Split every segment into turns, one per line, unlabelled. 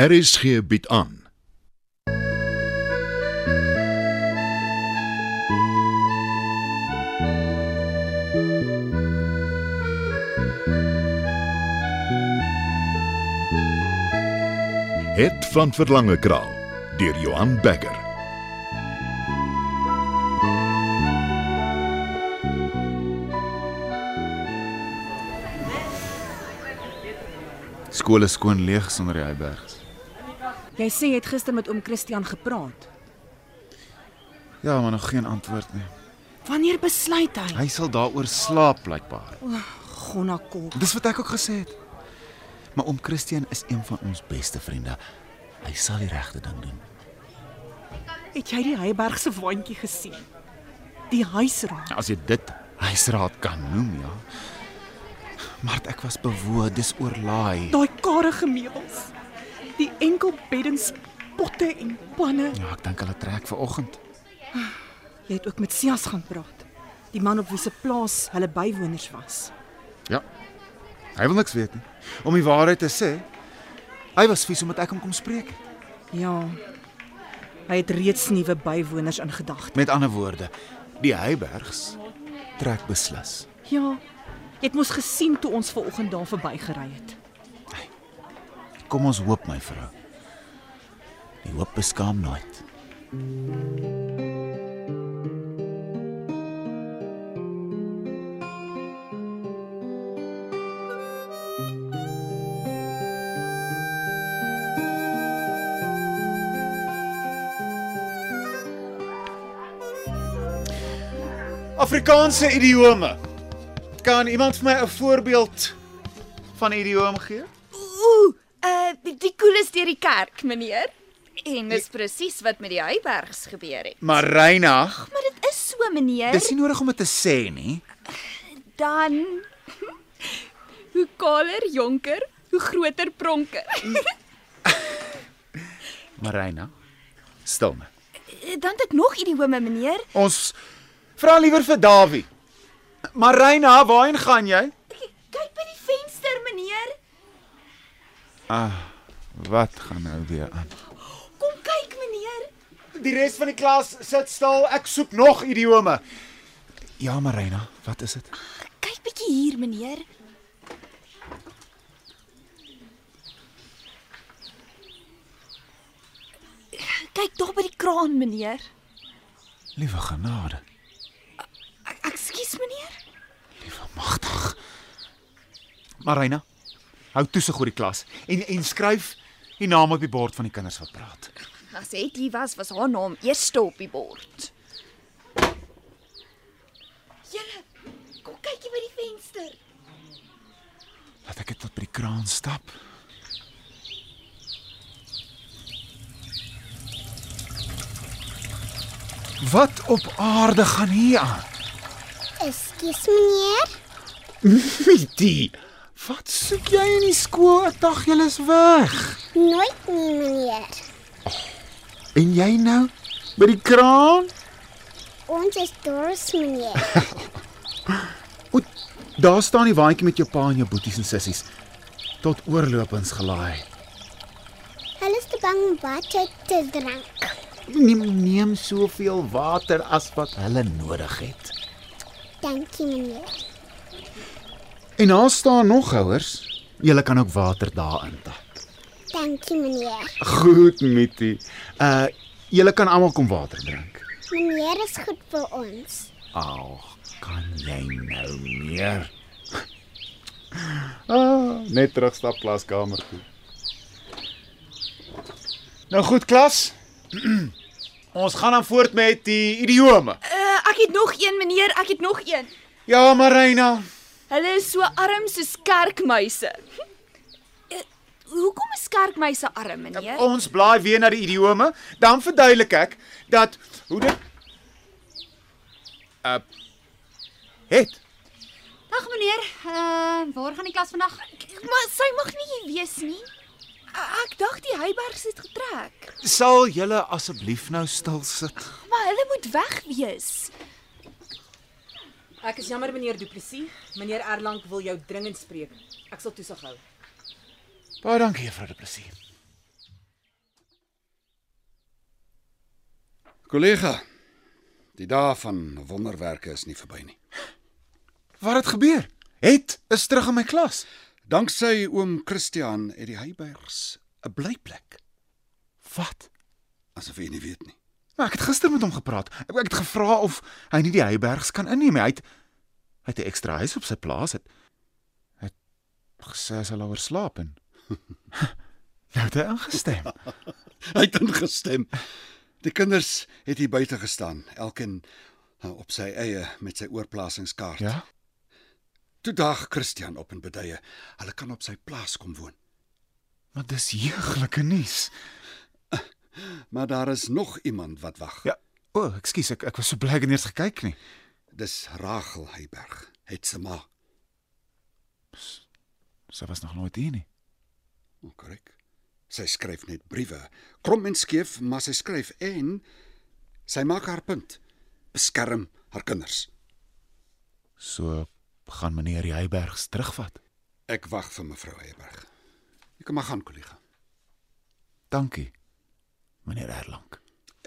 RSG bied aan. Het van Verlange Kraal deur Johan Becker.
Skole skoon leeg sonder die Heibergs.
Jy sê jy het gister met oom Christian gepraat.
Ja, maar nog geen antwoord nie.
Wanneer besluit hy?
Hy sal daaroor slaap blykbaar.
Gonna kol.
Dis wat ek ook gesê het. Maar oom Christian is een van ons beste vriende. Hy sal die regte ding doen.
Het jy die Heyberg se waantjie gesien? Die huisraad.
As jy dit huisraad kan noem, ja. Maar ek was bewoed, dis oorlaai.
Daai karige meubels. Die enkel beddens, potte en panne.
Ja, ek dink hulle trek vir oggend.
Jy het ook met Sias gaan praat. Die man op wie se plaas hulle bywoners was.
Ja. Hy wil niks weet nie. Om die waarheid te sê, hy was vies omdat ek hom kom spreek het.
Ja. Hy het reeds nuwe bywoners in gedagte.
Met ander woorde, die Heibergs trek beslis.
Ja. Jy het mos gesien toe ons ver oggend daar verbygery het.
Kom ons hoop my vrou. Die hoop beskaam nooit. Afrikaanse idiome. Kan iemand vir my 'n voorbeeld van 'n idioom gee?
Ooh, uh die, die koel is deur die kerk, meneer. En dis presies wat met die Heybergs gebeur het.
Maar Reinag,
Maar dit is so, meneer.
dis nie nodig om dit te sê nie.
Dan hoe kaler jonker, hoe groter pronker.
Maar Reinag, stil my.
Eh, Dan het ek nog idiome, meneer.
Ons vra liewer vir Dawie. Maar Reinag, waarheen gaan jy?
K- Kyk by die venster, meneer.
Wat gaan nou weer aan?
Kom kyk, meneer.
Die res van die klas sit stil. Ek soek nog idiome. Ja, maar Reinag, wat is dit?
Kyk bietjie hier, meneer. Kyk daar by die kraan, meneer.
Liewe genade,
Ek- Ekskuus, meneer.
liewe magtig. Maar Reinag, hou toesig oor die klas en en skryf die name op die bord van die kinders wat praat.
As Etty was, was haar naam eerste op die bord. Julle, kom kyk hier by die venster.
Laat ek dit tot by die kraan stap. Wat op aarde gaan hier aan?
Ekskuus meneer,
Pietie, wat soek jy in die skool? Ek dink jy is weg.
nooit nie meneer.
En jy nou by die kraan?
Ons is dors meneer.
O, daar staan die waantjie met jou pa en jou boeties en sissies tot oorlopends gelaai.
Hulle is te bang om water te drink.
Neem neem soveel water as wat hulle nodig het.
Dankie meneer.
En daar staan nog houers. Jy kan ook water daarin tap.
Dankie meneer.
Goed, Mietie. Uh jy kan almal kom water drink.
Meneer is goed vir ons.
Ag, kan jy nou meer? Ah, net terugstap klaskamer toe. Nou goed klas. Ons gaan dan voort met die idiome.
Uh, ek het nog een, meneer, ek het nog een.
Ja, Marina.
Hulle is so arm soos kerkmuise. Eh, Hoekom is kerkmuise arm, meneer?
Ons blaai weer na die idiome, dan verduidelik ek dat hoe dit uh het.
Dag meneer, uh, waar gaan die klas vandag? Maar sy mag nie hier wees nie. Eh, Ek dacht die Heybergs het getrek.
Sal julle asseblief nou stil sit?
Maar hulle moet weg wees.
Ek is jammer meneer Du Plessis. Meneer Erlang wil jou dringend spreek. Ek sal toesig hou.
Baie dankie, Juffrou De Plessis.
Kollega, die dae van wonderwerke is nie verby nie.
Wat het gebeur? Het is terug in my klas.
Danksy oom Christian het die Heibergs 'n blyplek,
Wat?
asof jy nie weet nie.
Maar ek het gister met hom gepraat. Ek ek het gevra of hy nie die Heibergs kan inneem nie. Hy het hy het 'n ekstra huis op sy plaas. Het het gesê hy sal oor slaap en nou het hy ingestem.
Hy het ingestem. Die kinders het hier buite gestaan, elkeen eh, op sy eie met sy oorplasingskaart.
Ja.
Toe daag Christian op en beduie, hulle kan op sy plaas kom woon.
Maar dis jeuglike nuus.
Maar daar is nog iemand wat wag.
Ja. O, oh, ekskuus, ek ek was so bly ek het nie eens gekyk nie.
Dis Rachel Heiberg, het se ma.
Sy was nog nooit hier nie.
Oh, Korrek. Sy skryf net briewe, krom en skeef, maar sy skryf en sy maak haar punt. Beskerm haar kinders.
So gaan meneer die Heibergs terugvat.
Ek wag vir mevrou Heiberg. Jy kan maar gaan, kollega.
Dankie. Meneer Erlang.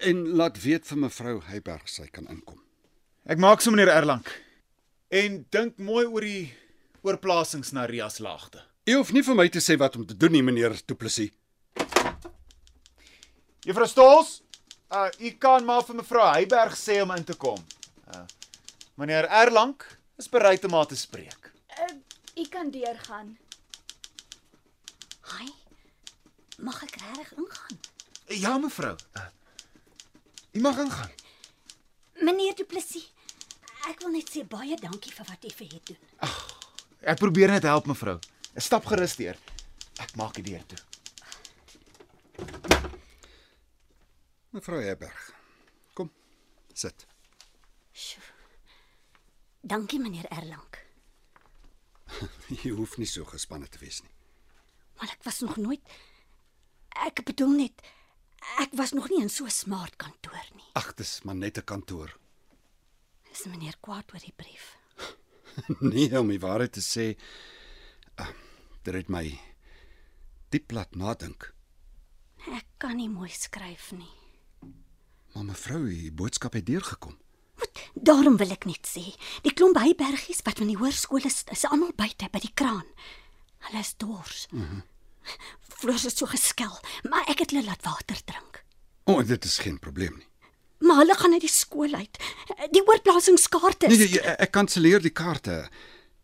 En laat weet vir mevrou Heiberg sy kan inkom.
Ek maak so meneer Erlang. En dink mooi oor die oorplasings na Ria se laagte.
U hoef nie vir my te sê wat om te doen nie, meneer Du Plessis.
Juffrou Stols, uh u kan maar vir mevrou Heiberg sê om in te kom. Uh meneer Erlang is bereid om haar te spreek.
U kan deurgaan. Hi. Mag ek regtig ingaan?
Ja mevrou. Uh, u mag ingaan.
Meneer Du Plessis, ek wil net sê baie dankie vir wat u vir het doen.
Ek probeer net help mevrou. Stap gerus deur. Ek maak die deur toe.
Mevrou Heiberg. Kom. Sit.
Sjoe. Dankie meneer Erlang,
Jy hoef nie so gespanne te wees nie.
maar ek was nog nooit ek bedoel net ek was nog nie in so 'n smart kantoor nie.
Ag, dis maar net 'n kantoor.
Is meneer kwaad oor die brief?
Nee, om die waarheid te sê, uh, dit het my diep laat nadink.
Ek kan nie mooi skryf nie.
Maar mevrou, die boodskap het deurgekom.
Wat? Daarom wil ek net sê, die klomp heibergies wat van die hoërskool is, is almal buite by die kraan. Hulle is dors. Mm -hmm. Floors het so geskel, maar ek het hulle laat water drink.
O, oh, dit is geen probleem nie.
Maar hulle gaan uit die skool uit. Die oorplasingskaarte is
Nee, nee, ek- ek kanselleer die kaarte.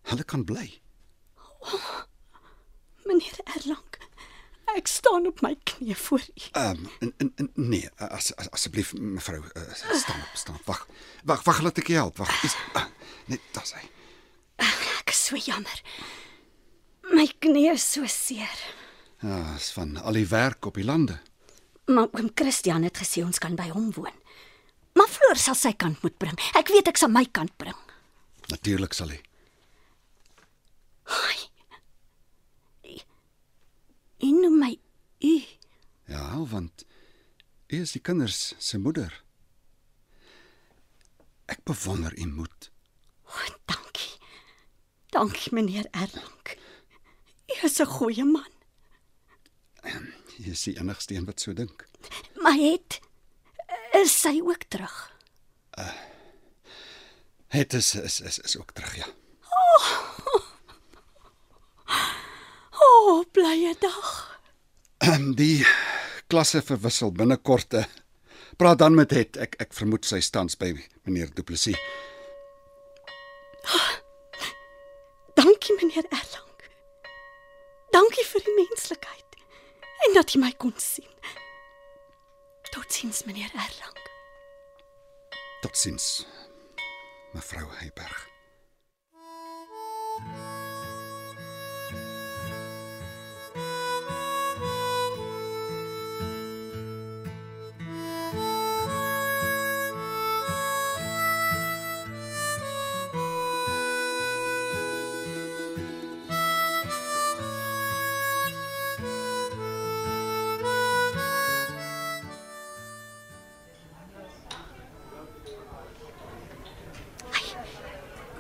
Hulle kan bly.
meneer Erlang. Ek staan op my knie voor u.
Ehm um, nee, as, as, asseblief mevrou, uh, staan op, staan op. Wag. Wag, wag, laat ek jou help. Wag. Is uh, net daar's hy.
Ek is so jammer. My knie is so seer.
Ja, is van al die werk op die lande.
Maar oom Christian het gesê ons kan by hom woon. Maar Floor sal sy kant moet bring. Ek weet ek sal my kant bring.
Natuurlik sal hy.
Ai. U noem my u.
Ja, want u is die kinders se moeder. Ek bewonder u moed.
O, dankie. Dankie meneer Erlang. U is 'n goeie man.
Jy is die enigste een wat so dink.
Maar het is sy ook terug?
Het is is is, is ook terug, ja.
O, oh, blye dag.
Ehm die klasse verwissel binnekort. eh. Praat dan met het. Ek ek vermoed sy tans by meneer Du Plessis.
Dankie meneer Erlang. Dankie vir die menslikheid en dat jy my kon sien. Totsiens meneer Erlang.
Totsiens. Mevrou Heiberg.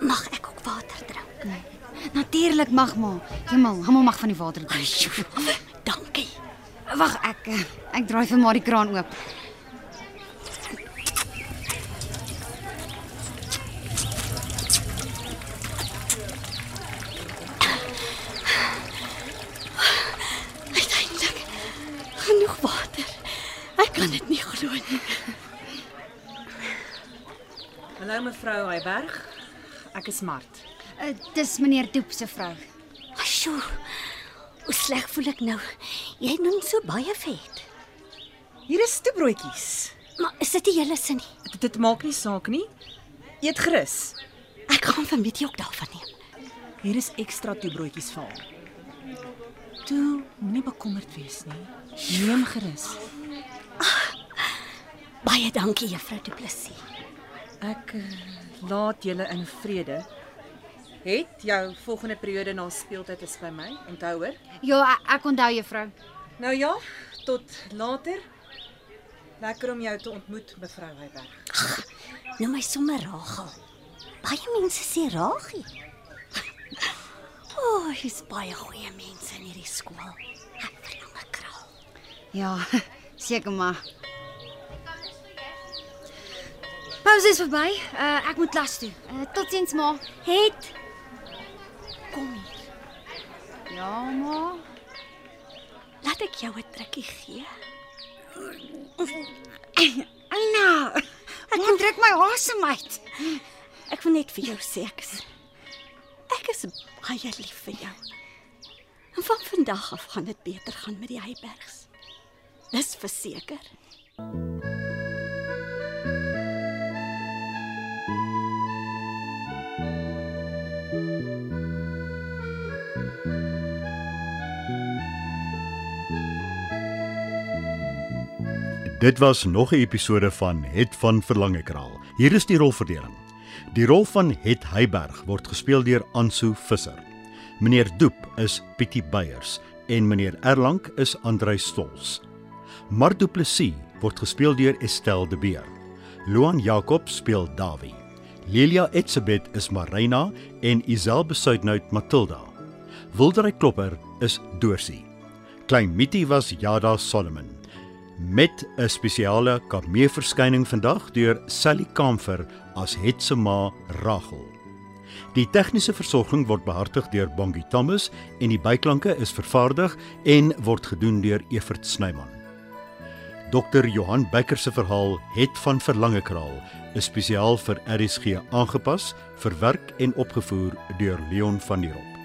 Mag ek ook water drink?
Natuurlik mag maar. Hemel, hemel mag van die water drink.
Dankie.
Wag, ek eh, ek draai vir maar die kraan oop.
water. Ek kan dit nie glo nie.
Hallo nou, mevrou Heyberg. Ek is Mart.
Uh, dis meneer Doep se vrou.
Sjoe. Hoe sleg voel ek nou. Jy noem so baie vet.
Hier is toebroodjies.
Maar is dit die hele sin nie?
Dit, dit maak nie saak nie. Eet gerus.
Ek gaan van Mitty ook daarvan neem.
Hier is ekstra toebroodjies vir haar. Toe, moenie bekommerd wees nie. Neem gerus.
Ah, Baie dankie juffrou Du Plessis.
Ek eh, laat julle in vrede. Het jou volgende periode na speeltyd is by my. Onthou hoor.
Ja, e- ek onthou juffrou.
Nou ja, tot later. Lekker om jou te ontmoet, mevrou Heyberg.
Noem my sommer Rachel. Baie mense sê Ragie. O, oh, hier's baie goeie mense in hierdie skool. Ek verlang 'n kraal.
Ja, seker maar. Pause is verby. Uh, ek moet klas toe. Uh, Totsiens ma.
Het kom hier.
Ja ma.
Laat ek jou 'n trukkie gee.
Eina. Ek moet druk my asem uit.
Ek wil net vir jou sê ek is ek is baie lief vir jou. En van vandag af gaan dit beter gaan met die Heybergs. Dis verseker.
Dit was nog 'n episode van Het van Verlangekraal. Hier is die rolverdeling. Die rol van Het Heyberg word gespeel deur Ansu Visser. Meneer Doep is Pietie Beyers en meneer Erlang is Andrei Stols. Mart Du Plessis word gespeel deur Estelle De Beer. Loan Jacob speel Dawie. Lilia Etzebeth is Marina en Isel Besuitnout Matilda. Wildery Klopper is Dorsie. Klein Mietie was Jada Solomon met 'n spesiale kameeverskyning vandag deur Sally Kamfer as het se ma Rachel. Die tegniese versorging word behartig deur Bongie Thomas en die byklanke is vervaardig en word gedoen deur Evert Snyman. Dr Johan Becker se verhaal Het van Verlange Kraal is spesiaal vir RSG aangepas, verwerk en opgevoer deur Leon van der Walt.